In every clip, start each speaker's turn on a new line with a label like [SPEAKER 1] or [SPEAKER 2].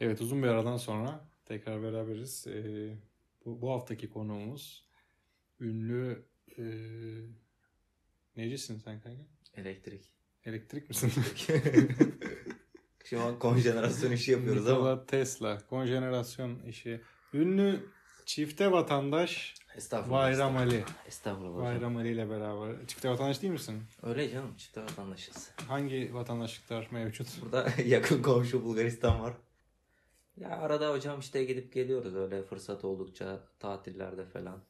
[SPEAKER 1] Evet uzun bir aradan sonra tekrar beraberiz. Ee, bu, bu haftaki konuğumuz ünlü e, necisin sen kanka?
[SPEAKER 2] Elektrik.
[SPEAKER 1] Elektrik misin?
[SPEAKER 2] Şu an konjenerasyon işi yapıyoruz ama.
[SPEAKER 1] Nikola Tesla konjenerasyon işi. Ünlü çifte vatandaş
[SPEAKER 2] Estağfurullah.
[SPEAKER 1] Bayram Ali.
[SPEAKER 2] Estağfurullah hocam.
[SPEAKER 1] Bayram Ali ile beraber. Çifte vatandaş değil misin?
[SPEAKER 2] Öyle canım çifte vatandaşız.
[SPEAKER 1] Hangi vatandaşlıklar mevcut?
[SPEAKER 2] Burada yakın komşu Bulgaristan var. Ya arada hocam işte gidip geliyoruz öyle fırsat oldukça tatillerde falan.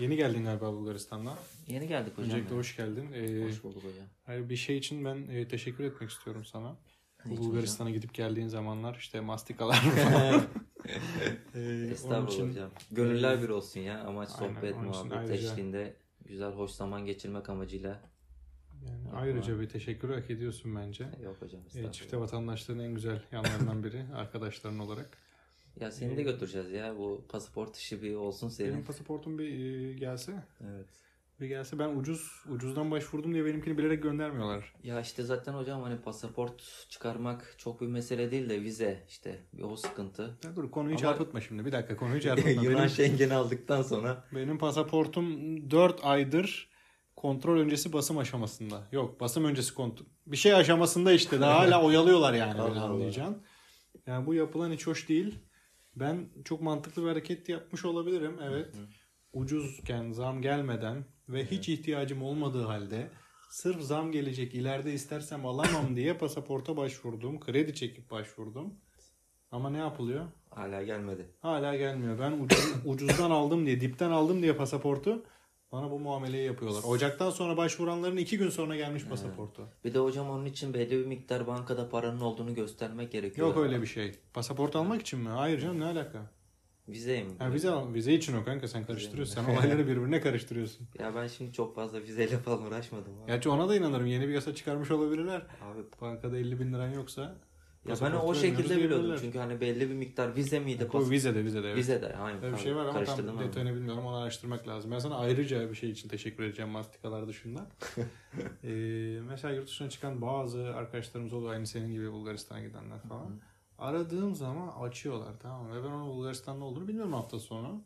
[SPEAKER 1] Yeni geldin galiba Bulgaristan'dan.
[SPEAKER 2] Yeni geldik hocam.
[SPEAKER 1] Öncelikle
[SPEAKER 2] ya.
[SPEAKER 1] hoş geldin. Ee,
[SPEAKER 2] Hoş bulduk hocam.
[SPEAKER 1] hayır, bir şey için ben e, teşekkür etmek istiyorum sana.
[SPEAKER 2] Hiç
[SPEAKER 1] Bulgaristan'a gidip geldiğin zamanlar işte mastikalar falan.
[SPEAKER 2] hocam.
[SPEAKER 1] Ee, onun
[SPEAKER 2] Estağfurullah
[SPEAKER 1] için Ee,
[SPEAKER 2] hocam. Gönüller bir olsun ya. Amaç
[SPEAKER 1] Aynen,
[SPEAKER 2] sohbet
[SPEAKER 1] onun için
[SPEAKER 2] muhabbet
[SPEAKER 1] ayrıca-
[SPEAKER 2] eşliğinde güzel hoş zaman geçirmek amacıyla.
[SPEAKER 1] yani ayrıca bir teşekkür hak ediyorsun bence.
[SPEAKER 2] Yok hocam
[SPEAKER 1] Ee,
[SPEAKER 2] estağfurullah.
[SPEAKER 1] çifte vatandaşlığın en güzel yanlarından biri arkadaşların olarak.
[SPEAKER 2] Ya seni de götüreceğiz ya bu pasaport işi bir olsun
[SPEAKER 1] Benim
[SPEAKER 2] senin.
[SPEAKER 1] pasaportum bir e, gelse,
[SPEAKER 2] Evet.
[SPEAKER 1] bir gelse ben ucuz ucuzdan başvurdum diye benimkini bilerek göndermiyorlar.
[SPEAKER 2] Ya işte zaten hocam hani pasaport çıkarmak çok bir mesele değil de vize işte bir o sıkıntı.
[SPEAKER 1] Ya dur konuyu
[SPEAKER 2] Ama-
[SPEAKER 1] çarpıtma şimdi. Bir dakika konuyu çarpıtma.
[SPEAKER 2] Yunan
[SPEAKER 1] benim,
[SPEAKER 2] Schengen'i aldıktan sonra
[SPEAKER 1] benim pasaportum 4 aydır kontrol öncesi basım aşamasında. Yok basım öncesi kontrol. Bir şey aşamasında işte daha hala oyalıyorlar yani
[SPEAKER 2] Allah
[SPEAKER 1] beni
[SPEAKER 2] Allah.
[SPEAKER 1] anlayacaksın. Yani bu yapılan hiç hoş değil. Ben çok mantıklı bir hareket yapmış olabilirim. Evet. Ucuzken zam gelmeden ve hiç ihtiyacım olmadığı halde sırf zam gelecek ileride istersem alamam diye pasaporta başvurdum. Kredi çekip başvurdum. Ama ne yapılıyor?
[SPEAKER 2] hala gelmedi.
[SPEAKER 1] Hala gelmiyor. Ben ucuz, ucuzdan aldım diye, dipten aldım diye pasaportu bana bu muameleyi yapıyorlar. Ocaktan sonra başvuranların iki gün sonra gelmiş pasaportu.
[SPEAKER 2] Bir de hocam onun için belli bir miktar bankada paranın olduğunu göstermek gerekiyor.
[SPEAKER 1] Yok öyle bir şey. Pasaport almak için mi? Hayır canım ne alaka?
[SPEAKER 2] Vize mi?
[SPEAKER 1] Ha, vize, al- vize için o kanka sen karıştırıyorsun. Sen olayları birbirine karıştırıyorsun.
[SPEAKER 2] Ya ben şimdi çok fazla vizeyle falan uğraşmadım. Abi,
[SPEAKER 1] Gerçi ona da inanırım. Yeni bir yasa çıkarmış olabilirler.
[SPEAKER 2] Abi,
[SPEAKER 1] Bankada 50 bin liran yoksa.
[SPEAKER 2] ya ben o
[SPEAKER 1] pasaportu
[SPEAKER 2] şekilde
[SPEAKER 1] vermiyoruz
[SPEAKER 2] biliyordum
[SPEAKER 1] diyebilirler.
[SPEAKER 2] çünkü hani belli bir miktar vize miydi?
[SPEAKER 1] O
[SPEAKER 2] Pas-
[SPEAKER 1] vizede vizede evet.
[SPEAKER 2] Vize de aynı.
[SPEAKER 1] Öyle bir
[SPEAKER 2] abi,
[SPEAKER 1] şey var ama
[SPEAKER 2] karıştırdım
[SPEAKER 1] tam
[SPEAKER 2] abi.
[SPEAKER 1] detayını bilmiyorum onu araştırmak lazım. Ben sana ayrıca bir şey için teşekkür edeceğim mastikalar dışında. ee, mesela yurt dışına çıkan bazı arkadaşlarımız oluyor aynı senin gibi Bulgaristan'a gidenler falan. Aradığım zaman açıyorlar tamam mı? Ve ben onun Bulgaristan'da olduğunu bilmiyorum hafta sonu.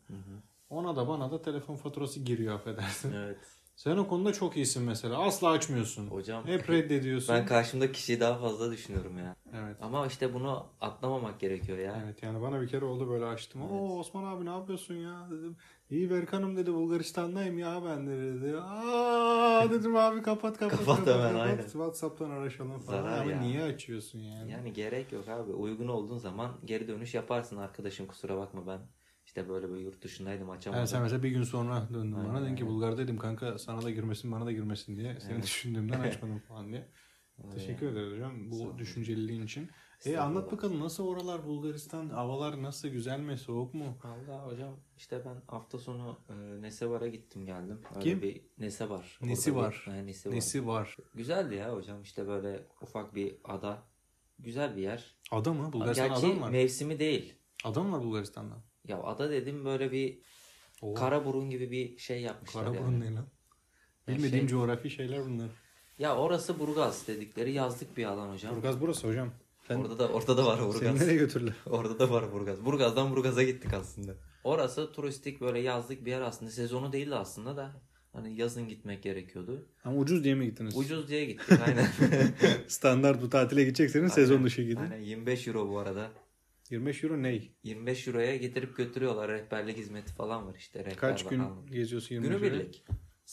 [SPEAKER 1] Ona da bana da telefon faturası giriyor affedersin.
[SPEAKER 2] Evet.
[SPEAKER 1] Sen o konuda çok iyisin mesela. Asla açmıyorsun.
[SPEAKER 2] Hocam
[SPEAKER 1] Hep reddediyorsun.
[SPEAKER 2] ben karşımdaki kişiyi daha fazla düşünüyorum ya.
[SPEAKER 1] Evet.
[SPEAKER 2] Ama işte bunu atlamamak gerekiyor ya.
[SPEAKER 1] Evet yani bana bir kere oldu böyle açtım.
[SPEAKER 2] Evet.
[SPEAKER 1] Oo Osman abi ne yapıyorsun ya dedim. İyi Berkan'ım dedi Bulgaristan'dayım ya ben de dedi. Aa dedim abi kapat kapat.
[SPEAKER 2] Kapat hemen, aynen.
[SPEAKER 1] Whatsapp'tan araşalım falan.
[SPEAKER 2] Zarar
[SPEAKER 1] Ama
[SPEAKER 2] ya.
[SPEAKER 1] niye açıyorsun yani?
[SPEAKER 2] Yani gerek yok abi. Uygun olduğun zaman geri dönüş yaparsın arkadaşım kusura bakma ben. işte böyle bir yurt dışındaydım açamadım.
[SPEAKER 1] Yani sen mesela bir gün sonra döndün
[SPEAKER 2] Aynen,
[SPEAKER 1] bana dedin ki
[SPEAKER 2] aynen.
[SPEAKER 1] Bulgar'daydım kanka sana da girmesin bana da girmesin diye. Seni
[SPEAKER 2] Evet.
[SPEAKER 1] düşündüğümden açmadım falan diye.
[SPEAKER 2] Öyle
[SPEAKER 1] Teşekkür ederim hocam
[SPEAKER 2] Sağ
[SPEAKER 1] bu
[SPEAKER 2] olun.
[SPEAKER 1] düşünceliliğin için. E
[SPEAKER 2] Estağfurullah.
[SPEAKER 1] anlat bakalım nasıl oralar Bulgaristan havalar nasıl güzel mi soğuk mu?
[SPEAKER 2] Valla hocam işte ben hafta sonu e, Nesebar'a gittim geldim. Öyle
[SPEAKER 1] Kim?
[SPEAKER 2] bir Nesebar. Orada
[SPEAKER 1] Nesi
[SPEAKER 2] bir-
[SPEAKER 1] var?
[SPEAKER 2] Ha, Nesi var.
[SPEAKER 1] Nesi var?
[SPEAKER 2] Güzeldi ya hocam işte böyle ufak bir ada. Güzel bir yer.
[SPEAKER 1] Ada mı? Bulgaristan'da
[SPEAKER 2] Gerçi
[SPEAKER 1] ada mı var?
[SPEAKER 2] mevsimi değil.
[SPEAKER 1] Ada mı var Bulgaristan'da?
[SPEAKER 2] Ya ada dedim böyle bir
[SPEAKER 1] Oo.
[SPEAKER 2] karaburun gibi bir şey yapmışlar. yani.
[SPEAKER 1] Karaburun ne lan?
[SPEAKER 2] Ya
[SPEAKER 1] Bilmediğim
[SPEAKER 2] şey-
[SPEAKER 1] coğrafi şeyler bunlar.
[SPEAKER 2] Ya orası Burgaz dedikleri yazlık bir alan hocam.
[SPEAKER 1] Burgaz burası hocam. Sen,
[SPEAKER 2] Orada da orada da var
[SPEAKER 1] seni
[SPEAKER 2] Burgaz.
[SPEAKER 1] nereye götürdüler?
[SPEAKER 2] Orada da var Burgaz. Burgaz'dan Burgaz'a gittik aslında. Orası turistik böyle yazlık bir yer aslında. Sezonu değildi aslında da. Hani yazın gitmek gerekiyordu.
[SPEAKER 1] Ama ucuz diye mi gittiniz?
[SPEAKER 2] Ucuz diye gittik aynen.
[SPEAKER 1] Standart bu tatile gidecekseniz sezon dışı gidin.
[SPEAKER 2] Aynen 25 euro bu arada.
[SPEAKER 1] 25 euro ney?
[SPEAKER 2] 25 euroya getirip götürüyorlar. Rehberlik hizmeti falan var işte. Rehber
[SPEAKER 1] Kaç gün
[SPEAKER 2] bakanlığı.
[SPEAKER 1] geziyorsun 25
[SPEAKER 2] Günü
[SPEAKER 1] euro?
[SPEAKER 2] birlik.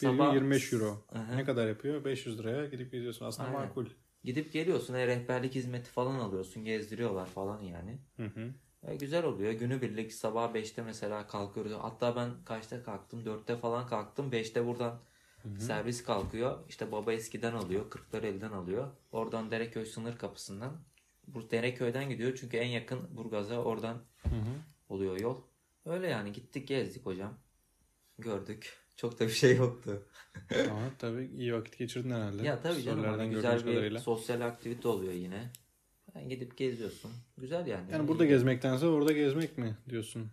[SPEAKER 1] Bir gün 25 euro.
[SPEAKER 2] Aha.
[SPEAKER 1] Ne kadar yapıyor? 500 liraya gidip geziyorsun. Aslında
[SPEAKER 2] Aynen.
[SPEAKER 1] makul.
[SPEAKER 2] Gidip geliyorsun. e, rehberlik hizmeti falan alıyorsun. Gezdiriyorlar falan yani.
[SPEAKER 1] Hı hı.
[SPEAKER 2] E, güzel oluyor. Günü birlik sabah 5'te mesela kalkıyoruz. Hatta ben kaçta kalktım? 4'te falan kalktım. 5'te buradan servis kalkıyor. İşte baba eskiden alıyor. 40'lar elden alıyor. Oradan Dereköy sınır kapısından. Bu Dereköy'den gidiyor çünkü en yakın Burgaz'a oradan
[SPEAKER 1] Hı hı.
[SPEAKER 2] oluyor yol. Öyle yani gittik gezdik hocam. Gördük. Çok da bir şey yoktu.
[SPEAKER 1] Ama tabii iyi vakit geçirdin herhalde.
[SPEAKER 2] ya tabii canım
[SPEAKER 1] Storylerden
[SPEAKER 2] hani
[SPEAKER 1] gördüğümüz
[SPEAKER 2] güzel bir
[SPEAKER 1] kadarıyla.
[SPEAKER 2] sosyal aktivite oluyor yine. Yani gidip geziyorsun. Güzel yani.
[SPEAKER 1] Yani burada gezmektense orada gezmek mi diyorsun?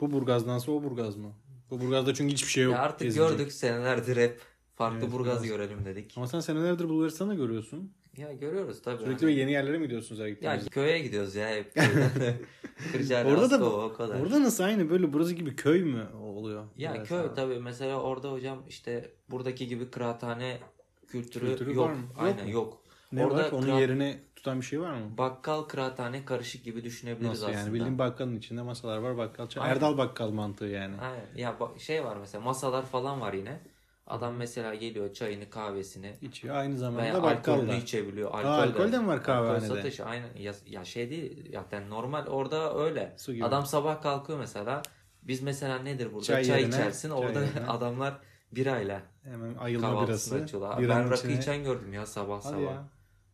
[SPEAKER 1] Bu Burgaz'dansa o Burgaz mı? Bu Burgaz'da çünkü hiçbir şey yok.
[SPEAKER 2] Ya artık
[SPEAKER 1] gezilecek.
[SPEAKER 2] gördük senelerdir hep farklı
[SPEAKER 1] Evet,
[SPEAKER 2] Burgaz
[SPEAKER 1] biraz.
[SPEAKER 2] görelim dedik.
[SPEAKER 1] Ama sen senelerdir Bulgaristan'ı görüyorsun.
[SPEAKER 2] Ya görüyoruz tabii. hani.
[SPEAKER 1] Sürekli böyle yeni yerlere mi gidiyorsunuz her
[SPEAKER 2] Ya
[SPEAKER 1] gittiğinizde?
[SPEAKER 2] köye gidiyoruz ya hep. köyden. Kırcaali,
[SPEAKER 1] Orada da-
[SPEAKER 2] Askova, o kadar.
[SPEAKER 1] Orada nasıl aynı böyle burası gibi köy mü oluyor?
[SPEAKER 2] Ya
[SPEAKER 1] Biraz
[SPEAKER 2] köy
[SPEAKER 1] daha?
[SPEAKER 2] tabii mesela orada hocam işte buradaki gibi kıraathane kültürü,
[SPEAKER 1] Kültürü
[SPEAKER 2] yok.
[SPEAKER 1] var mı? Yok
[SPEAKER 2] Aynen
[SPEAKER 1] mu?
[SPEAKER 2] yok.
[SPEAKER 1] Ne
[SPEAKER 2] Orada
[SPEAKER 1] var? Onun
[SPEAKER 2] kıra-
[SPEAKER 1] yerini tutan bir şey var mı?
[SPEAKER 2] Bakkal kıraathane karışık gibi düşünebiliriz
[SPEAKER 1] Nasıl
[SPEAKER 2] aslında.
[SPEAKER 1] yani? Bildiğin bakkalın içinde masalar var. Bakkal çay.
[SPEAKER 2] Aynen.
[SPEAKER 1] Erdal bakkal mantığı yani.
[SPEAKER 2] Aynen. Ya ba- şey var mesela masalar falan var yine. Adam mesela geliyor çayını kahvesini
[SPEAKER 1] İçiyor. Aynı
[SPEAKER 2] veya
[SPEAKER 1] zamanda bakkal da.
[SPEAKER 2] alkolünü içebiliyor. Alkol,
[SPEAKER 1] Aa, alkol de mi var kahvehanede?
[SPEAKER 2] Alkol satışı aynen. Ya, ya şey değil zaten normal orada öyle.
[SPEAKER 1] Su gibi.
[SPEAKER 2] Adam sabah kalkıyor mesela. Biz mesela nedir burada? Çay,
[SPEAKER 1] Çay yerine-
[SPEAKER 2] içersin.
[SPEAKER 1] çay
[SPEAKER 2] Orada
[SPEAKER 1] yerine.
[SPEAKER 2] adamlar birayla
[SPEAKER 1] Hemen ayılma
[SPEAKER 2] kahvaltısını
[SPEAKER 1] birası.
[SPEAKER 2] açıyorlar.
[SPEAKER 1] Biranın
[SPEAKER 2] ben rakı
[SPEAKER 1] içine-
[SPEAKER 2] içen gördüm ya sabah
[SPEAKER 1] Hadi
[SPEAKER 2] sabah.
[SPEAKER 1] ya.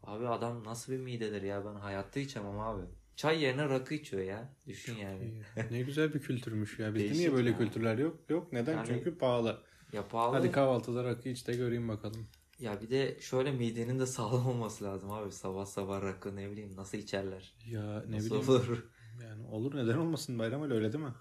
[SPEAKER 2] Abi adam nasıl bir midedir ya ben hayatta içemem abi. Çay yerine rakı içiyor ya. Düşün yani.
[SPEAKER 1] İyi. Ne güzel bir kültürmüş ya. Bizde
[SPEAKER 2] Değişik
[SPEAKER 1] niye böyle
[SPEAKER 2] ya.
[SPEAKER 1] kültürler yok? Yok. Neden?
[SPEAKER 2] Yani-
[SPEAKER 1] Çünkü pahalı.
[SPEAKER 2] Ya pahalı.
[SPEAKER 1] Hadi kahvaltıda rakı iç de göreyim bakalım.
[SPEAKER 2] Ya bir de şöyle midenin de sağlam olması lazım abi. Sabah sabah rakı ne bileyim nasıl içerler.
[SPEAKER 1] Ya ne
[SPEAKER 2] nasıl
[SPEAKER 1] bileyim.
[SPEAKER 2] olur.
[SPEAKER 1] Yani olur neden olmasın Bayram Ali öyle değil mi?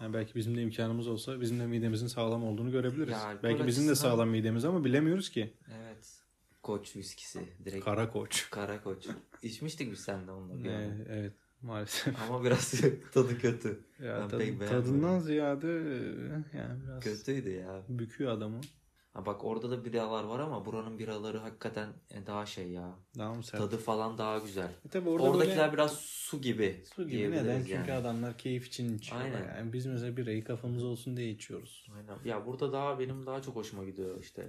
[SPEAKER 1] Yani belki bizim de imkanımız olsa bizim de midemizin sağlam olduğunu görebiliriz.
[SPEAKER 2] Ya alkol
[SPEAKER 1] belki bizim de
[SPEAKER 2] açısından-
[SPEAKER 1] sağlam midemiz ama bilemiyoruz ki.
[SPEAKER 2] Evet. Koç viskisi. Direkt kara,
[SPEAKER 1] Kara koç.
[SPEAKER 2] koç. İçmiştik biz sen de onunla bir
[SPEAKER 1] Ee,
[SPEAKER 2] ara.
[SPEAKER 1] evet maalesef.
[SPEAKER 2] Ama biraz tadı kötü.
[SPEAKER 1] Ya
[SPEAKER 2] Ben
[SPEAKER 1] tadı-
[SPEAKER 2] pek beğenmedim.
[SPEAKER 1] tadından ziyade e, yani biraz
[SPEAKER 2] Kötüydü ya.
[SPEAKER 1] büküyor adamı.
[SPEAKER 2] Ha bak orada da biralar var ama buranın biraları hakikaten e, daha şey ya.
[SPEAKER 1] Daha mı sert?
[SPEAKER 2] Tadı falan daha güzel.
[SPEAKER 1] E tabii orada
[SPEAKER 2] Oradakiler
[SPEAKER 1] böyle
[SPEAKER 2] biraz su gibi.
[SPEAKER 1] su gibi
[SPEAKER 2] diyebiliriz
[SPEAKER 1] neden?
[SPEAKER 2] yani.
[SPEAKER 1] Çünkü adamlar keyif için içiyorlar.
[SPEAKER 2] Aynen.
[SPEAKER 1] Yani biz mesela birayı kafamız olsun diye içiyoruz.
[SPEAKER 2] Aynen. Ya burada daha benim daha çok hoşuma gidiyor işte.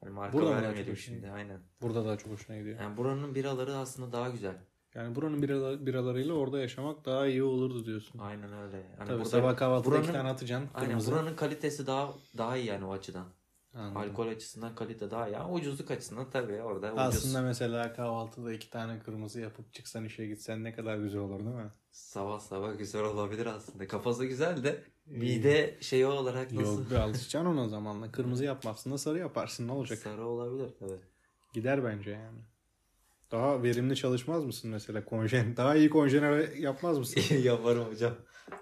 [SPEAKER 2] Hani marka
[SPEAKER 1] Burada mı daha çok
[SPEAKER 2] vermeyelim
[SPEAKER 1] hoşuna
[SPEAKER 2] şimdi aynen.
[SPEAKER 1] Burada daha çok hoşuna gidiyor.
[SPEAKER 2] Yani buranın biraları aslında daha güzel.
[SPEAKER 1] Yani buranın biralar- biralarıyla orada yaşamak daha iyi olurdu diyorsun.
[SPEAKER 2] Aynen öyle. Hani
[SPEAKER 1] Tabii
[SPEAKER 2] burada-
[SPEAKER 1] sabah kahvaltıda iki
[SPEAKER 2] buranın-
[SPEAKER 1] tane atacaksın.
[SPEAKER 2] Aynen
[SPEAKER 1] kırmızı.
[SPEAKER 2] buranın kalitesi daha daha iyi yani o açıdan.
[SPEAKER 1] Anladım.
[SPEAKER 2] Alkol açısından kalite daha iyi. Ama ucuzluk açısından tabii orada ucuz.
[SPEAKER 1] Aslında mesela kahvaltıda iki tane kırmızı yapıp çıksan işe gitsen ne kadar güzel olur değil mi?
[SPEAKER 2] Sabah sabah güzel olabilir aslında. Kafası güzel de
[SPEAKER 1] Ee,
[SPEAKER 2] mide şey olarak nasıl
[SPEAKER 1] Yok be alışacaksın ona zamanla. Kırmızı yapmazsın da sarı yaparsın ne olacak?
[SPEAKER 2] sarı olabilir tabii.
[SPEAKER 1] Gider bence yani. Daha verimli çalışmaz mısın mesela konjen? Daha iyi konjener yapmaz mısın?
[SPEAKER 2] İyi yaparım hocam.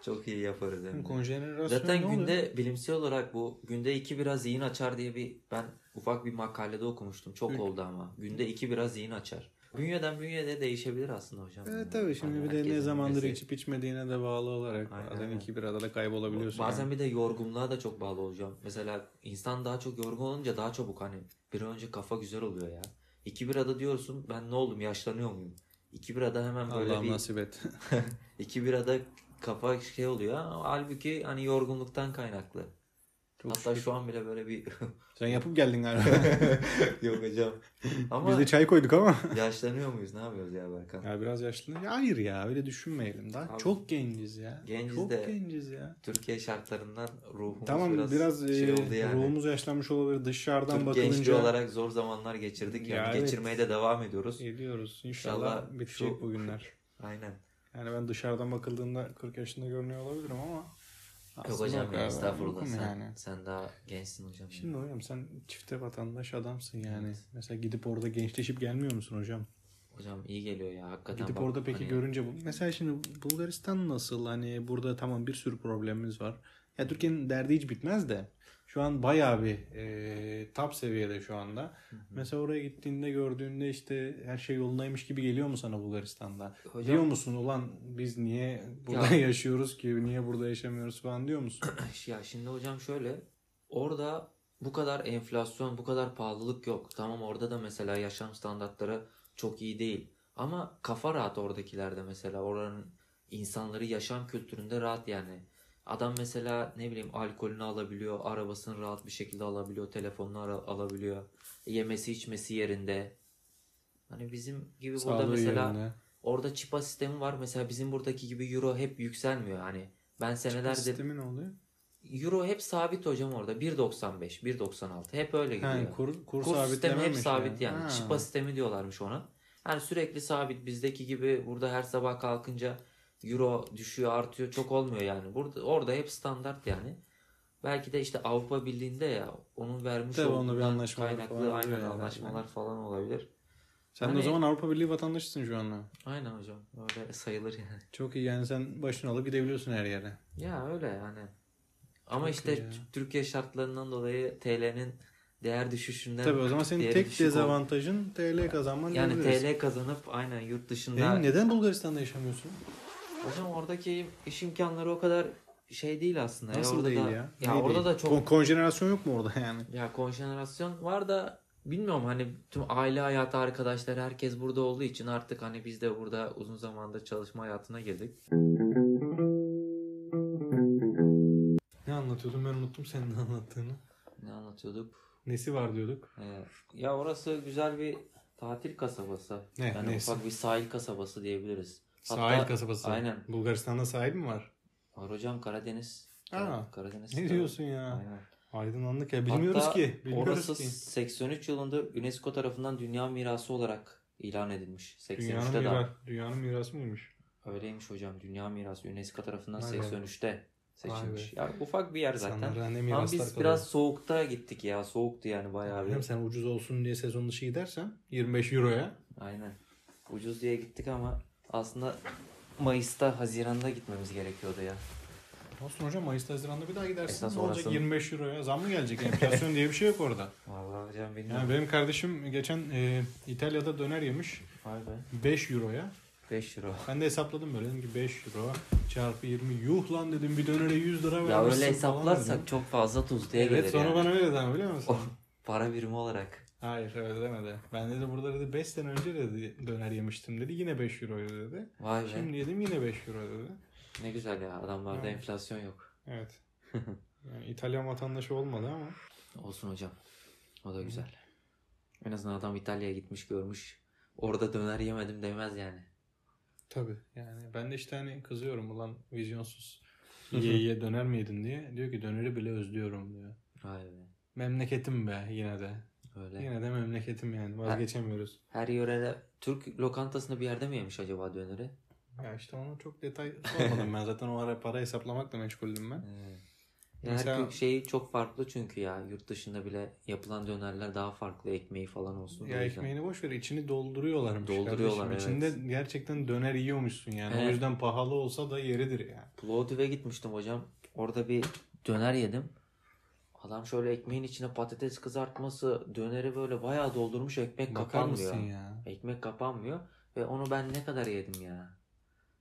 [SPEAKER 2] Çok iyi yaparız hem de.
[SPEAKER 1] Konjenerasyon
[SPEAKER 2] E, Zaten
[SPEAKER 1] ne oluyor?
[SPEAKER 2] günde bilimsel olarak bu günde iki biraz zihin açar diye bir ben ufak bir makalede okumuştum. Çok
[SPEAKER 1] Hı.
[SPEAKER 2] oldu ama. Günde iki biraz zihin açar. Bünyeden bünyede değişebilir aslında hocam.
[SPEAKER 1] Evet
[SPEAKER 2] Yani
[SPEAKER 1] E, tabii şimdi
[SPEAKER 2] hani
[SPEAKER 1] bir de ne
[SPEAKER 2] herkesin
[SPEAKER 1] zamandır
[SPEAKER 2] mesleği.
[SPEAKER 1] içip içmediğine de bağlı olarak
[SPEAKER 2] Aynen
[SPEAKER 1] bazen
[SPEAKER 2] öyle.
[SPEAKER 1] iki birada da kaybolabiliyorsun.
[SPEAKER 2] Bazen
[SPEAKER 1] yani.
[SPEAKER 2] bir de yorgunluğa da çok bağlı hocam. Mesela insan daha çok yorgun olunca daha çabuk hani bir an önce kafa güzel oluyor ya. İki birada diyorsun ben ne oldum yaşlanıyor muyum? İki birada hemen böyle
[SPEAKER 1] Allah'ım
[SPEAKER 2] bir
[SPEAKER 1] nasip et.
[SPEAKER 2] iki birada kafa şey oluyor. Halbuki hani yorgunluktan kaynaklı.
[SPEAKER 1] Çok
[SPEAKER 2] Hatta
[SPEAKER 1] şükür.
[SPEAKER 2] şu an bile böyle bir
[SPEAKER 1] Sen yapıp geldin galiba.
[SPEAKER 2] Yok hocam. Ama
[SPEAKER 1] Biz de çay koyduk ama.
[SPEAKER 2] yaşlanıyor muyuz? Ne yapıyoruz ya Berkan?
[SPEAKER 1] Ya biraz yaşlı. Ya hayır ya öyle düşünmeyelim. Daha
[SPEAKER 2] Abi,
[SPEAKER 1] çok genciz ya.
[SPEAKER 2] genciz
[SPEAKER 1] çok
[SPEAKER 2] de-
[SPEAKER 1] genciz ya.
[SPEAKER 2] Türkiye şartlarından ruhumuz
[SPEAKER 1] Tamam biraz,
[SPEAKER 2] biraz, şey
[SPEAKER 1] e,
[SPEAKER 2] oldu yani.
[SPEAKER 1] ruhumuz yaşlanmış olabilir. Dışarıdan
[SPEAKER 2] Türk gençliği
[SPEAKER 1] bakılınca
[SPEAKER 2] olarak zor zamanlar geçirdik yani.
[SPEAKER 1] Ya evet.
[SPEAKER 2] Geçirmeye de devam ediyoruz.
[SPEAKER 1] geliyoruz. İnşallah,
[SPEAKER 2] İnşallah
[SPEAKER 1] bitecek
[SPEAKER 2] şu-
[SPEAKER 1] bu günler.
[SPEAKER 2] Aynen.
[SPEAKER 1] Yani ben dışarıdan bakıldığında 40 yaşında görünüyor olabilirim ama
[SPEAKER 2] Yok
[SPEAKER 1] aslında
[SPEAKER 2] hocam ya
[SPEAKER 1] galiba
[SPEAKER 2] estağfurullah
[SPEAKER 1] yokum
[SPEAKER 2] sen,
[SPEAKER 1] yani.
[SPEAKER 2] sen daha gençsin hocam.
[SPEAKER 1] Şimdi hocam sen çifte vatandaş adamsın yani.
[SPEAKER 2] Evet.
[SPEAKER 1] Mesela gidip orada gençleşip gelmiyor musun hocam?
[SPEAKER 2] Hocam iyi geliyor ya hakikaten.
[SPEAKER 1] Gidip
[SPEAKER 2] bak,
[SPEAKER 1] orada peki
[SPEAKER 2] hani
[SPEAKER 1] görünce bu. Mesela şimdi Bulgaristan nasıl? Hani burada tamam bir sürü problemimiz var. Ya Türkiye'nin derdi hiç bitmez de. Şu an bayağı bir e, top seviyede şu anda. Mesela oraya gittiğinde gördüğünde işte her şey yolundaymış gibi geliyor mu sana Bulgaristan'da?
[SPEAKER 2] Hocam
[SPEAKER 1] Diyor musun ulan biz niye burada yaşıyoruz ki? Niye burada yaşamıyoruz falan diyor musun?
[SPEAKER 2] ya şimdi hocam şöyle orada bu kadar enflasyon, bu kadar pahalılık yok. Tamam orada da mesela yaşam standartları çok iyi değil. Ama kafa rahat oradakilerde mesela oranın insanları yaşam kültüründe rahat yani. Adam mesela ne bileyim alkolünü alabiliyor, arabasını rahat bir şekilde alabiliyor, telefonunu ara- alabiliyor. Yemesi içmesi yerinde. Hani bizim gibi burada
[SPEAKER 1] Sağlığı
[SPEAKER 2] mesela
[SPEAKER 1] yerine.
[SPEAKER 2] orada çipa sistemi var. Mesela bizim buradaki gibi euro hep yükselmiyor. Hani ben senelerdir
[SPEAKER 1] Sistemi ne oluyor?
[SPEAKER 2] Euro hep sabit hocam orada. 1.95, 1.96 hep öyle gidiyor.
[SPEAKER 1] Ha, kur, kur,
[SPEAKER 2] Kur sistemi hep
[SPEAKER 1] sabitlememiş
[SPEAKER 2] sabit yani.
[SPEAKER 1] Ha.
[SPEAKER 2] Çipa sistemi diyorlarmış ona. Yani sürekli sabit. Bizdeki gibi burada her sabah kalkınca euro düşüyor, artıyor. Çok olmuyor yani. Burada orada hep standart yani. Belki de işte Avrupa Birliği'nde ya onun vermiş
[SPEAKER 1] Tabii
[SPEAKER 2] olduğundan
[SPEAKER 1] onda bir anlaşmalar falan
[SPEAKER 2] kaynaklı
[SPEAKER 1] oluyor
[SPEAKER 2] aynen
[SPEAKER 1] yani.
[SPEAKER 2] anlaşmalar falan olabilir.
[SPEAKER 1] Sen de o
[SPEAKER 2] Hani-
[SPEAKER 1] zaman Avrupa Birliği vatandaşısın şu anda.
[SPEAKER 2] Aynen hocam. Öyle sayılır yani.
[SPEAKER 1] Çok iyi yani sen başını alıp gidebiliyorsun her yere.
[SPEAKER 2] Ya öyle yani. Ama
[SPEAKER 1] Çok
[SPEAKER 2] işte
[SPEAKER 1] iyi ya.
[SPEAKER 2] Tü- Türkiye şartlarından dolayı TL'nin değer düşüşünden
[SPEAKER 1] Tabii o zaman senin
[SPEAKER 2] değeri
[SPEAKER 1] tek
[SPEAKER 2] düşük oldu.
[SPEAKER 1] dezavantajın TL kazanman
[SPEAKER 2] Yani
[SPEAKER 1] diyebiliriz.
[SPEAKER 2] TL kazanıp aynen yurt dışında.
[SPEAKER 1] Benim neden Bulgaristan'da yaşamıyorsun?
[SPEAKER 2] Hocam oradaki iş imkanları o kadar şey değil aslında.
[SPEAKER 1] Nasıl
[SPEAKER 2] orada
[SPEAKER 1] değil
[SPEAKER 2] da,
[SPEAKER 1] ya?
[SPEAKER 2] Ya
[SPEAKER 1] Neyi
[SPEAKER 2] orada
[SPEAKER 1] değil?
[SPEAKER 2] da çok
[SPEAKER 1] Kon- konjenerasyon yok mu orada yani?
[SPEAKER 2] ya konjenerasyon var da bilmiyorum hani tüm aile hayatı arkadaşlar herkes burada olduğu için artık hani biz de burada uzun zamandır çalışma hayatına girdik.
[SPEAKER 1] Ne anlatıyordum ben unuttum senin anlattığını.
[SPEAKER 2] Ne anlatıyorduk?
[SPEAKER 1] Nesi var diyorduk.
[SPEAKER 2] Ee, ya orası güzel bir tatil kasabası.
[SPEAKER 1] Ne,
[SPEAKER 2] yani
[SPEAKER 1] Eh, neyse.
[SPEAKER 2] ufak bir sahil kasabası diyebiliriz.
[SPEAKER 1] Sahil kasabası.
[SPEAKER 2] Aynen.
[SPEAKER 1] Bulgaristan'da sahil mi var?
[SPEAKER 2] Var hocam Karadeniz.
[SPEAKER 1] Aa,
[SPEAKER 2] Karadeniz.
[SPEAKER 1] Ne diyorsun ya?
[SPEAKER 2] Aynen.
[SPEAKER 1] Aydınlandık ya. Bilmiyoruz
[SPEAKER 2] Hatta
[SPEAKER 1] ki. Bilmiyoruz
[SPEAKER 2] orası
[SPEAKER 1] ki.
[SPEAKER 2] 83 yılında UNESCO tarafından dünya mirası olarak ilan edilmiş. 83'te
[SPEAKER 1] Dünyanın,
[SPEAKER 2] daha.
[SPEAKER 1] mira- dünyanın mirası mıymış?
[SPEAKER 2] Öyleymiş hocam. Dünya mirası UNESCO tarafından
[SPEAKER 1] Vay be.
[SPEAKER 2] 83'te seçilmiş.
[SPEAKER 1] Vay
[SPEAKER 2] Ya ufak bir yer zaten.
[SPEAKER 1] İnsanlara ne
[SPEAKER 2] Ama
[SPEAKER 1] hani miraslar
[SPEAKER 2] biz
[SPEAKER 1] kalıyor.
[SPEAKER 2] biraz soğukta gittik ya. Soğuktu yani bayağı
[SPEAKER 1] Hem
[SPEAKER 2] bir.
[SPEAKER 1] sen ucuz olsun diye sezon dışı gidersen 25 euroya
[SPEAKER 2] Aynen. Ucuz diye gittik ama aslında Mayıs'ta, Haziran'da gitmemiz gerekiyordu ya.
[SPEAKER 1] Olsun hocam Mayıs'ta Haziran'da bir daha gidersin.
[SPEAKER 2] Esas
[SPEAKER 1] ne olacak
[SPEAKER 2] orası-
[SPEAKER 1] 25 euroya? Zam mı gelecek? Enflasyon diye bir şey yok orada.
[SPEAKER 2] Vallahi hocam bilmiyorum.
[SPEAKER 1] Yani benim kardeşim geçen e, İtalya'da döner yemiş
[SPEAKER 2] Vay be.
[SPEAKER 1] 5 euroya.
[SPEAKER 2] 5 euro.
[SPEAKER 1] Ben de hesapladım böyle dedim ki 5 euro çarpı 20 yuh lan dedim bir dönere 100 lira vermişsin
[SPEAKER 2] Ya öyle
[SPEAKER 1] falan
[SPEAKER 2] hesaplarsak
[SPEAKER 1] dedim.
[SPEAKER 2] çok fazla tuzluya gelir
[SPEAKER 1] Evet sonra
[SPEAKER 2] yani.
[SPEAKER 1] bana öyle dedi biliyor musun?
[SPEAKER 2] Para birimi olarak.
[SPEAKER 1] Hayır öyle demedi. Ben dedi burada dedi 5 sene önce dedi döner yemiştim dedi yine 5 euro dedi.
[SPEAKER 2] Vay be.
[SPEAKER 1] Şimdi yedim yine 5 euro dedi.
[SPEAKER 2] Ne güzel ya adamlarda
[SPEAKER 1] Evet.
[SPEAKER 2] enflasyon yok.
[SPEAKER 1] Evet. Yani İtalyan vatandaşı olmadı ama.
[SPEAKER 2] Olsun hocam. O da güzel. En azından adam İtalya'ya gitmiş görmüş. Orada döner yemedim demez yani.
[SPEAKER 1] Tabii. Yani ben de işte hani kızıyorum ulan vizyonsuz. Yiye yiye döner mi yedin diye. Diyor ki döneri bile özlüyorum diyor.
[SPEAKER 2] Vay be.
[SPEAKER 1] Memleketim be yine de.
[SPEAKER 2] Öyle.
[SPEAKER 1] Yine de memleketim yani vazgeçemiyoruz.
[SPEAKER 2] Her yörede Türk lokantasında bir yerde mi yemiş acaba döneri?
[SPEAKER 1] Ya işte ona çok detay sormadım ben. Zaten o ara para hesaplamakla meşguldüm ben.
[SPEAKER 2] Ya
[SPEAKER 1] Mesela-
[SPEAKER 2] her kö- şey çok farklı çünkü ya. Yurt dışında bile yapılan dönerler daha farklı. Ekmeği falan olsun.
[SPEAKER 1] Ya
[SPEAKER 2] o yüzden.
[SPEAKER 1] ekmeğini boş ver içini dolduruyorlarmış.
[SPEAKER 2] Dolduruyorlar,
[SPEAKER 1] kardeşim.
[SPEAKER 2] evet.
[SPEAKER 1] İçinde gerçekten döner yiyormuşsun yani. O
[SPEAKER 2] Evet.
[SPEAKER 1] yüzden pahalı olsa da yeridir yani.
[SPEAKER 2] Plovdiv'e gitmiştim hocam. Orada bir döner yedim. Adam şöyle ekmeğin içine patates kızartması, döneri böyle bayağı doldurmuş ekmek
[SPEAKER 1] Bakar
[SPEAKER 2] kapanmıyor.
[SPEAKER 1] mısın ya?
[SPEAKER 2] Ekmek kapanmıyor ve onu ben ne kadar yedim ya.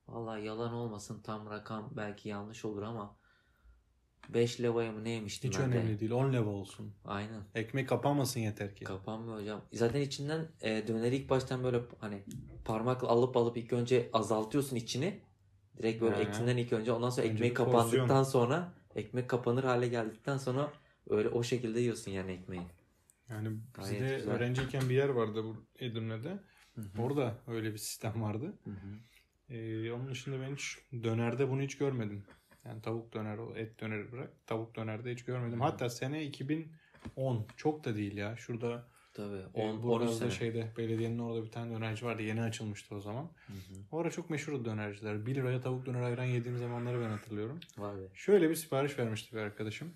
[SPEAKER 2] Vallahi yalan olmasın tam rakam belki yanlış olur ama 5 levaya mı ne yemiştim
[SPEAKER 1] Hiç
[SPEAKER 2] ben de.
[SPEAKER 1] önemli değil. 10 leva olsun.
[SPEAKER 2] Aynen.
[SPEAKER 1] Ekmek kapanmasın yeter ki.
[SPEAKER 2] Kapanmıyor hocam. Zaten içinden e, döneri ilk baştan böyle hani parmakla alıp alıp ilk önce azaltıyorsun içini. Direkt böyle
[SPEAKER 1] He.
[SPEAKER 2] etinden ilk önce ondan sonra
[SPEAKER 1] Önce
[SPEAKER 2] ekmeği
[SPEAKER 1] bir
[SPEAKER 2] kapandıktan
[SPEAKER 1] porsiyon.
[SPEAKER 2] sonra ekmek kapanır hale geldikten sonra öyle o şekilde yiyorsun yani ekmeği.
[SPEAKER 1] Yani
[SPEAKER 2] Gayet
[SPEAKER 1] bizde
[SPEAKER 2] güzel.
[SPEAKER 1] öğrenciyken bir yer vardı bu Edirne'de.
[SPEAKER 2] Hı hı.
[SPEAKER 1] Orada öyle bir sistem vardı.
[SPEAKER 2] Hı hı.
[SPEAKER 1] Ee, onun dışında ben hiç dönerde bunu hiç görmedim. Yani tavuk döner, et döneri bırak. Tavuk dönerde hiç görmedim. Hatta sene 2010. Çok da değil ya. Şurada
[SPEAKER 2] Tabii.
[SPEAKER 1] e,
[SPEAKER 2] 10 13
[SPEAKER 1] Boraz'da
[SPEAKER 2] sene.
[SPEAKER 1] şeyde belediyenin orada bir tane dönerci vardı. Yeni açılmıştı o zaman.
[SPEAKER 2] Hı hı.
[SPEAKER 1] O ara çok meşhurdu dönerciler. 1 liraya tavuk döner ayran yediğim zamanları ben hatırlıyorum.
[SPEAKER 2] Var be.
[SPEAKER 1] Şöyle bir sipariş vermişti bir arkadaşım.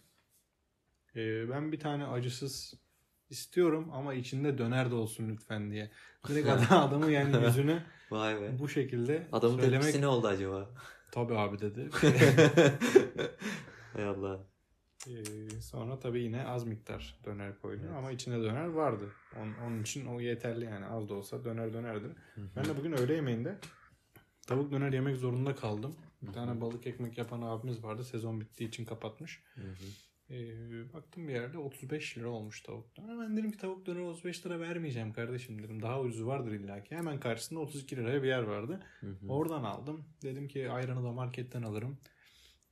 [SPEAKER 1] Ee, ben bir tane acısız istiyorum ama içinde döner de olsun lütfen diye. Direkt adam, adamı yani yüzüne
[SPEAKER 2] Vay be.
[SPEAKER 1] bu şekilde
[SPEAKER 2] Adamın
[SPEAKER 1] söylemek.
[SPEAKER 2] tepkisi ne oldu acaba?
[SPEAKER 1] Tabii abi dedi.
[SPEAKER 2] Hay Allah.
[SPEAKER 1] Ee, sonra tabii yine az miktar döner koydu
[SPEAKER 2] Evet.
[SPEAKER 1] ama içinde döner vardı. Onun, onun için o yeterli yani az da olsa döner dönerdi.
[SPEAKER 2] Hı hı.
[SPEAKER 1] Ben de bugün öğle yemeğinde tavuk döner yemek zorunda kaldım. Bir tane balık ekmek yapan abimiz vardı. Sezon bittiği için kapatmış.
[SPEAKER 2] Hı hı.
[SPEAKER 1] Ee, baktım bir yerde 35 lira olmuş tavuk döner. Ben dedim ki tavuk döneri 35 lira vermeyeceğim kardeşim dedim. Daha ucuzu vardır illaki. Hemen karşısında 32 liraya bir yer vardı.
[SPEAKER 2] Hı hı.
[SPEAKER 1] Oradan aldım. Dedim ki ayranı da marketten alırım.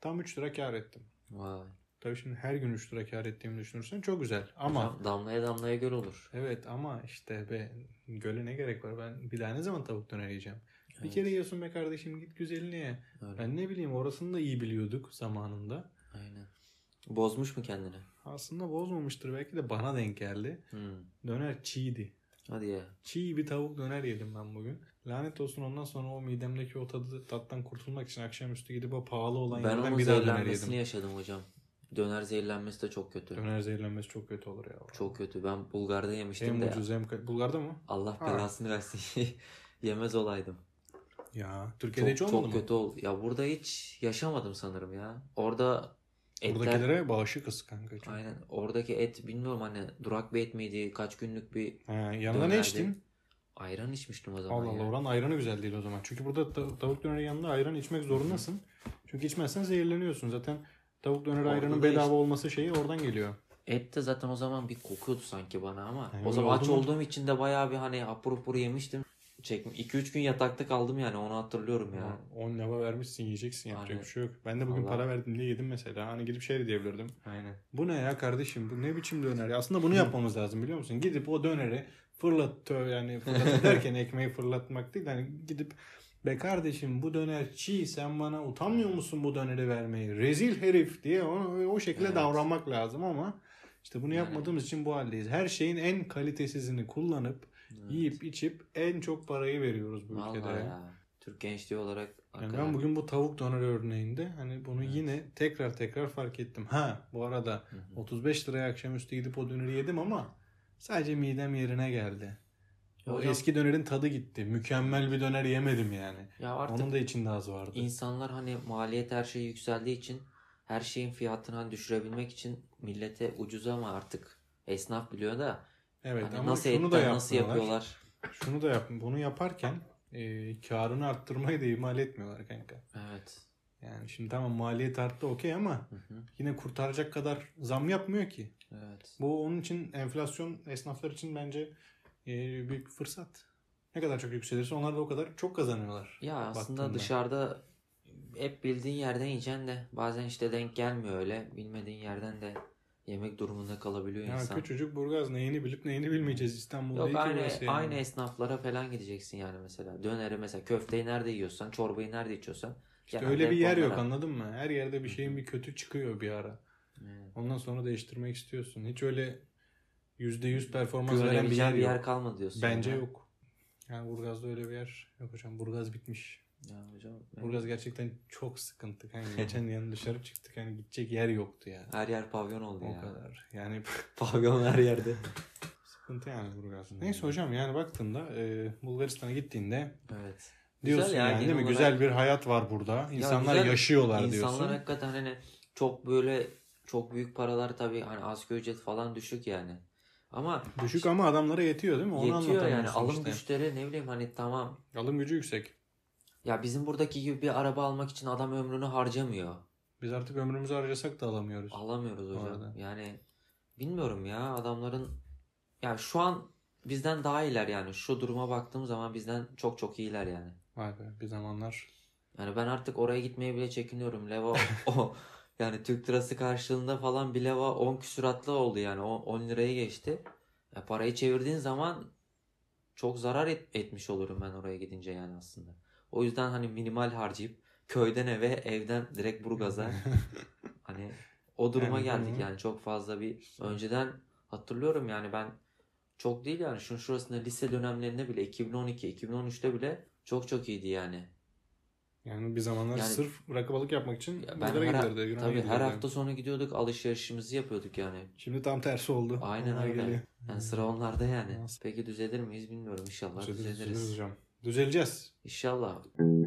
[SPEAKER 1] Tam 3 lira kar ettim.
[SPEAKER 2] Vay.
[SPEAKER 1] Tabii şimdi her gün 3 lira kar ettiğimi düşünürsen çok güzel. Ama
[SPEAKER 2] Hocam damlaya damlaya göl olur.
[SPEAKER 1] evet ama işte be göle ne gerek var? Ben bir daha ne zaman tavuk döner yiyeceğim? Bir
[SPEAKER 2] Evet,
[SPEAKER 1] kere yiyorsun be kardeşim git güzelini ye.
[SPEAKER 2] öyle.
[SPEAKER 1] Ben ne bileyim orasını da iyi biliyorduk zamanında.
[SPEAKER 2] Aynen. Bozmuş mu kendini?
[SPEAKER 1] Aslında bozmamıştır belki de bana denk geldi.
[SPEAKER 2] Hı.
[SPEAKER 1] Döner çiğdi.
[SPEAKER 2] Hadi ya.
[SPEAKER 1] Çiğ bir tavuk döner yedim ben bugün. Lanet olsun ondan sonra o midemdeki o tadı tattan kurtulmak için akşamüstü gidip o pahalı olan
[SPEAKER 2] Ben
[SPEAKER 1] yerden
[SPEAKER 2] onun
[SPEAKER 1] bir daha döner
[SPEAKER 2] zehirlenmesini
[SPEAKER 1] yedim.
[SPEAKER 2] yaşadım hocam. Döner zehirlenmesi de çok kötü.
[SPEAKER 1] Döner zehirlenmesi çok kötü olur ya.
[SPEAKER 2] Çok kötü. Ben Bulgar'da yemiştim
[SPEAKER 1] Hem
[SPEAKER 2] de.
[SPEAKER 1] ucuz hem... ka- Bulgar'da mı?
[SPEAKER 2] Allah
[SPEAKER 1] Ha.
[SPEAKER 2] belasını versin. Yemez olaydım.
[SPEAKER 1] Ya. Türkiye'de hiç
[SPEAKER 2] çok
[SPEAKER 1] olmadı
[SPEAKER 2] çok
[SPEAKER 1] mı?
[SPEAKER 2] kötü oldu. Ya burada hiç yaşamadım sanırım ya. Orada Etler,
[SPEAKER 1] Buradakilere bağışı kız kanka. Çok.
[SPEAKER 2] aynen oradaki et bilmiyorum hani durak bir et miydi kaç günlük bir
[SPEAKER 1] Ha, yanına ne
[SPEAKER 2] Dönerdi.
[SPEAKER 1] içtin?
[SPEAKER 2] ayran içmiştim o zaman
[SPEAKER 1] Allah Allah
[SPEAKER 2] ya.
[SPEAKER 1] oranın ayranı güzel değil o zaman. Çünkü burada ta- tavuk döneri yanında ayran içmek zorundasın. Çünkü içmezsen zehirleniyorsun. Zaten tavuk döneri
[SPEAKER 2] Orada
[SPEAKER 1] ayranın
[SPEAKER 2] da
[SPEAKER 1] bedava
[SPEAKER 2] işte-
[SPEAKER 1] olması şeyi oradan geliyor.
[SPEAKER 2] Et de zaten o zaman bir kokuyordu sanki bana ama
[SPEAKER 1] Yani
[SPEAKER 2] o zaman
[SPEAKER 1] oldu
[SPEAKER 2] aç
[SPEAKER 1] mu?
[SPEAKER 2] olduğum için de bayağı bir hani hapur hapur yemiştim. Çekme 2-3 gün yatakta kaldım yani onu hatırlıyorum ya.
[SPEAKER 1] 10 Hani lava vermişsin yiyeceksin yapacak
[SPEAKER 2] Aynen.
[SPEAKER 1] bir şey yok. Ben de bugün
[SPEAKER 2] Vallahi.
[SPEAKER 1] para verdim diye yedim mesela. Hani gidip şey de diyebilirdim.
[SPEAKER 2] Aynen.
[SPEAKER 1] Bu ne ya kardeşim? Bu ne biçim döner? ya? Aslında bunu yapmamız lazım biliyor musun? Gidip o döneri fırlat tö- yani fırlat derken ekmeği fırlatmak değil. Hani gidip be kardeşim bu döner çiğ sen bana utanmıyor musun bu döneri vermeyi? Rezil herif diye ona o şekilde
[SPEAKER 2] Evet.
[SPEAKER 1] davranmak lazım ama işte bunu
[SPEAKER 2] Yani.
[SPEAKER 1] yapmadığımız için bu haldeyiz. Her şeyin en kalitesizini kullanıp yiyip içip en çok parayı veriyoruz bu ülkede.
[SPEAKER 2] Vallahi ya. Türk gençliği olarak
[SPEAKER 1] Yani
[SPEAKER 2] hakikaten-
[SPEAKER 1] ben bugün bu tavuk döner örneğinde hani bunu
[SPEAKER 2] Evet.
[SPEAKER 1] yine tekrar tekrar fark ettim. Ha bu arada
[SPEAKER 2] Hı hı.
[SPEAKER 1] 35 liraya akşamüstü gidip o döneri yedim ama sadece midem yerine geldi. O
[SPEAKER 2] Hocam,
[SPEAKER 1] eski dönerin tadı gitti. Mükemmel bir döner yemedim yani.
[SPEAKER 2] ya artık
[SPEAKER 1] Onun da içinde az vardı.
[SPEAKER 2] insanlar hani maliyet her şey yükseldiği için her şeyin fiyatını hani düşürebilmek için millete ucuza mı artık esnaf biliyor da
[SPEAKER 1] Evet
[SPEAKER 2] hani
[SPEAKER 1] ama
[SPEAKER 2] nasıl
[SPEAKER 1] şunu da
[SPEAKER 2] etten
[SPEAKER 1] yapmıyorlar.
[SPEAKER 2] nasıl yapıyorlar.
[SPEAKER 1] Şunu da yap. Bunu yaparken e, karını arttırmayı da ihmal etmiyorlar kanka.
[SPEAKER 2] Evet.
[SPEAKER 1] Yani şimdi tamam maliyet arttı okey ama
[SPEAKER 2] Hı hı.
[SPEAKER 1] yine kurtaracak kadar zam yapmıyor ki.
[SPEAKER 2] Evet.
[SPEAKER 1] Bu onun için enflasyon esnaflar için bence e, büyük bir fırsat. Ne kadar çok yükselirse onlar da o kadar çok kazanıyorlar.
[SPEAKER 2] Ya aslında
[SPEAKER 1] baktığında.
[SPEAKER 2] dışarıda hep bildiğin yerden yiyeceksin de bazen işte denk gelmiyor öyle. Bilmediğin yerden de yemek durumunda kalabiliyor
[SPEAKER 1] Ya
[SPEAKER 2] insan.
[SPEAKER 1] küçücük Burgaz neyini bilip neyini bilmeyeceğiz İstanbul'da. iyi
[SPEAKER 2] Yok
[SPEAKER 1] ki
[SPEAKER 2] aynı,
[SPEAKER 1] burası yani.
[SPEAKER 2] aynı esnaflara falan gideceksin yani mesela. Döneri mesela köfteyi nerede yiyorsan, çorbayı nerede içiyorsan.
[SPEAKER 1] İşte
[SPEAKER 2] genelde
[SPEAKER 1] öyle bir
[SPEAKER 2] hep
[SPEAKER 1] yer yok
[SPEAKER 2] onlara-
[SPEAKER 1] anladın mı? Her yerde bir şeyin bir kötü çıkıyor bir ara.
[SPEAKER 2] Evet.
[SPEAKER 1] Ondan sonra değiştirmek istiyorsun. Hiç öyle %100 performans veren bir
[SPEAKER 2] Güvenebileceğin
[SPEAKER 1] yer,
[SPEAKER 2] bir yer
[SPEAKER 1] yok.
[SPEAKER 2] kalmadı diyorsun.
[SPEAKER 1] Bence
[SPEAKER 2] yani.
[SPEAKER 1] yok. Yani Burgaz'da öyle bir yer yok hocam. Burgaz bitmiş.
[SPEAKER 2] Ya hocam, evet.
[SPEAKER 1] Burgaz gerçekten çok sıkıntı. Yani geçen yan dışarı çıktık. Yani gidecek yer yoktu ya.
[SPEAKER 2] Her yer pavyon oldu
[SPEAKER 1] O
[SPEAKER 2] ya.
[SPEAKER 1] kadar. Yani
[SPEAKER 2] Pavyon her yerde.
[SPEAKER 1] Sıkıntı yani Burgaz. Neyse hocam yani baktığında e, Bulgaristan'a gittiğinde
[SPEAKER 2] evet. Güzel
[SPEAKER 1] diyorsun
[SPEAKER 2] ya,
[SPEAKER 1] yani değil mi?
[SPEAKER 2] genel
[SPEAKER 1] Güzel bir hayat var burada. İnsanlar
[SPEAKER 2] güzel.
[SPEAKER 1] yaşıyorlar diyorsun.
[SPEAKER 2] İnsanlar hakikaten hani çok böyle çok büyük paralar tabii hani asgari ücret falan düşük yani. Ama
[SPEAKER 1] Düşük ama adamlara yetiyor değil mi? Onu
[SPEAKER 2] yetiyor yani
[SPEAKER 1] anlatamıyorsun
[SPEAKER 2] alım
[SPEAKER 1] işte.
[SPEAKER 2] güçleri ne bileyim hani tamam.
[SPEAKER 1] Alım gücü yüksek.
[SPEAKER 2] Ya bizim buradaki gibi bir araba almak için adam ömrünü harcamıyor.
[SPEAKER 1] Biz artık ömrümüzü harcasak da alamıyoruz.
[SPEAKER 2] Alamıyoruz hocam.
[SPEAKER 1] arada.
[SPEAKER 2] Yani bilmiyorum ya adamların ya şu an bizden daha iyiler yani. Şu duruma baktığım zaman bizden çok çok iyiler yani.
[SPEAKER 1] Vay be bir zamanlar.
[SPEAKER 2] Yani ben artık oraya gitmeye bile çekiniyorum. Leva o yani Türk lirası karşılığında falan bir leva 10 küsuratlı oldu yani. O 10 liraya geçti. Ya parayı çevirdiğin zaman çok zarar et- etmiş olurum ben oraya gidince yani aslında. O yüzden hani minimal harcayıp köyden eve, evden direkt Burgaz'a hani o duruma
[SPEAKER 1] Yani
[SPEAKER 2] geldik
[SPEAKER 1] bunu-
[SPEAKER 2] yani çok fazla bir önceden hatırlıyorum yani ben çok değil yani şunun şurasında lise dönemlerinde bile 2012 2013'te bile çok çok iyiydi yani.
[SPEAKER 1] Yani bir zamanlar
[SPEAKER 2] Yani-
[SPEAKER 1] sırf rakı balık yapmak için
[SPEAKER 2] Ya ben
[SPEAKER 1] Bulgar'a
[SPEAKER 2] her,
[SPEAKER 1] gidilirdi. Yunan'a
[SPEAKER 2] tabii her
[SPEAKER 1] gidilirdi.
[SPEAKER 2] hafta sonu gidiyorduk alışverişimizi yapıyorduk yani.
[SPEAKER 1] Şimdi tam tersi oldu.
[SPEAKER 2] Aynen
[SPEAKER 1] Onlar
[SPEAKER 2] öyle.
[SPEAKER 1] geliyor.
[SPEAKER 2] Yani sıra onlarda yani.
[SPEAKER 1] Nasıl?
[SPEAKER 2] Peki düzelir miyiz bilmiyorum inşallah
[SPEAKER 1] Düzeliriz,
[SPEAKER 2] düzeliriz.
[SPEAKER 1] düzeliriz hocam. Düzeleceğiz.
[SPEAKER 2] İnşallah.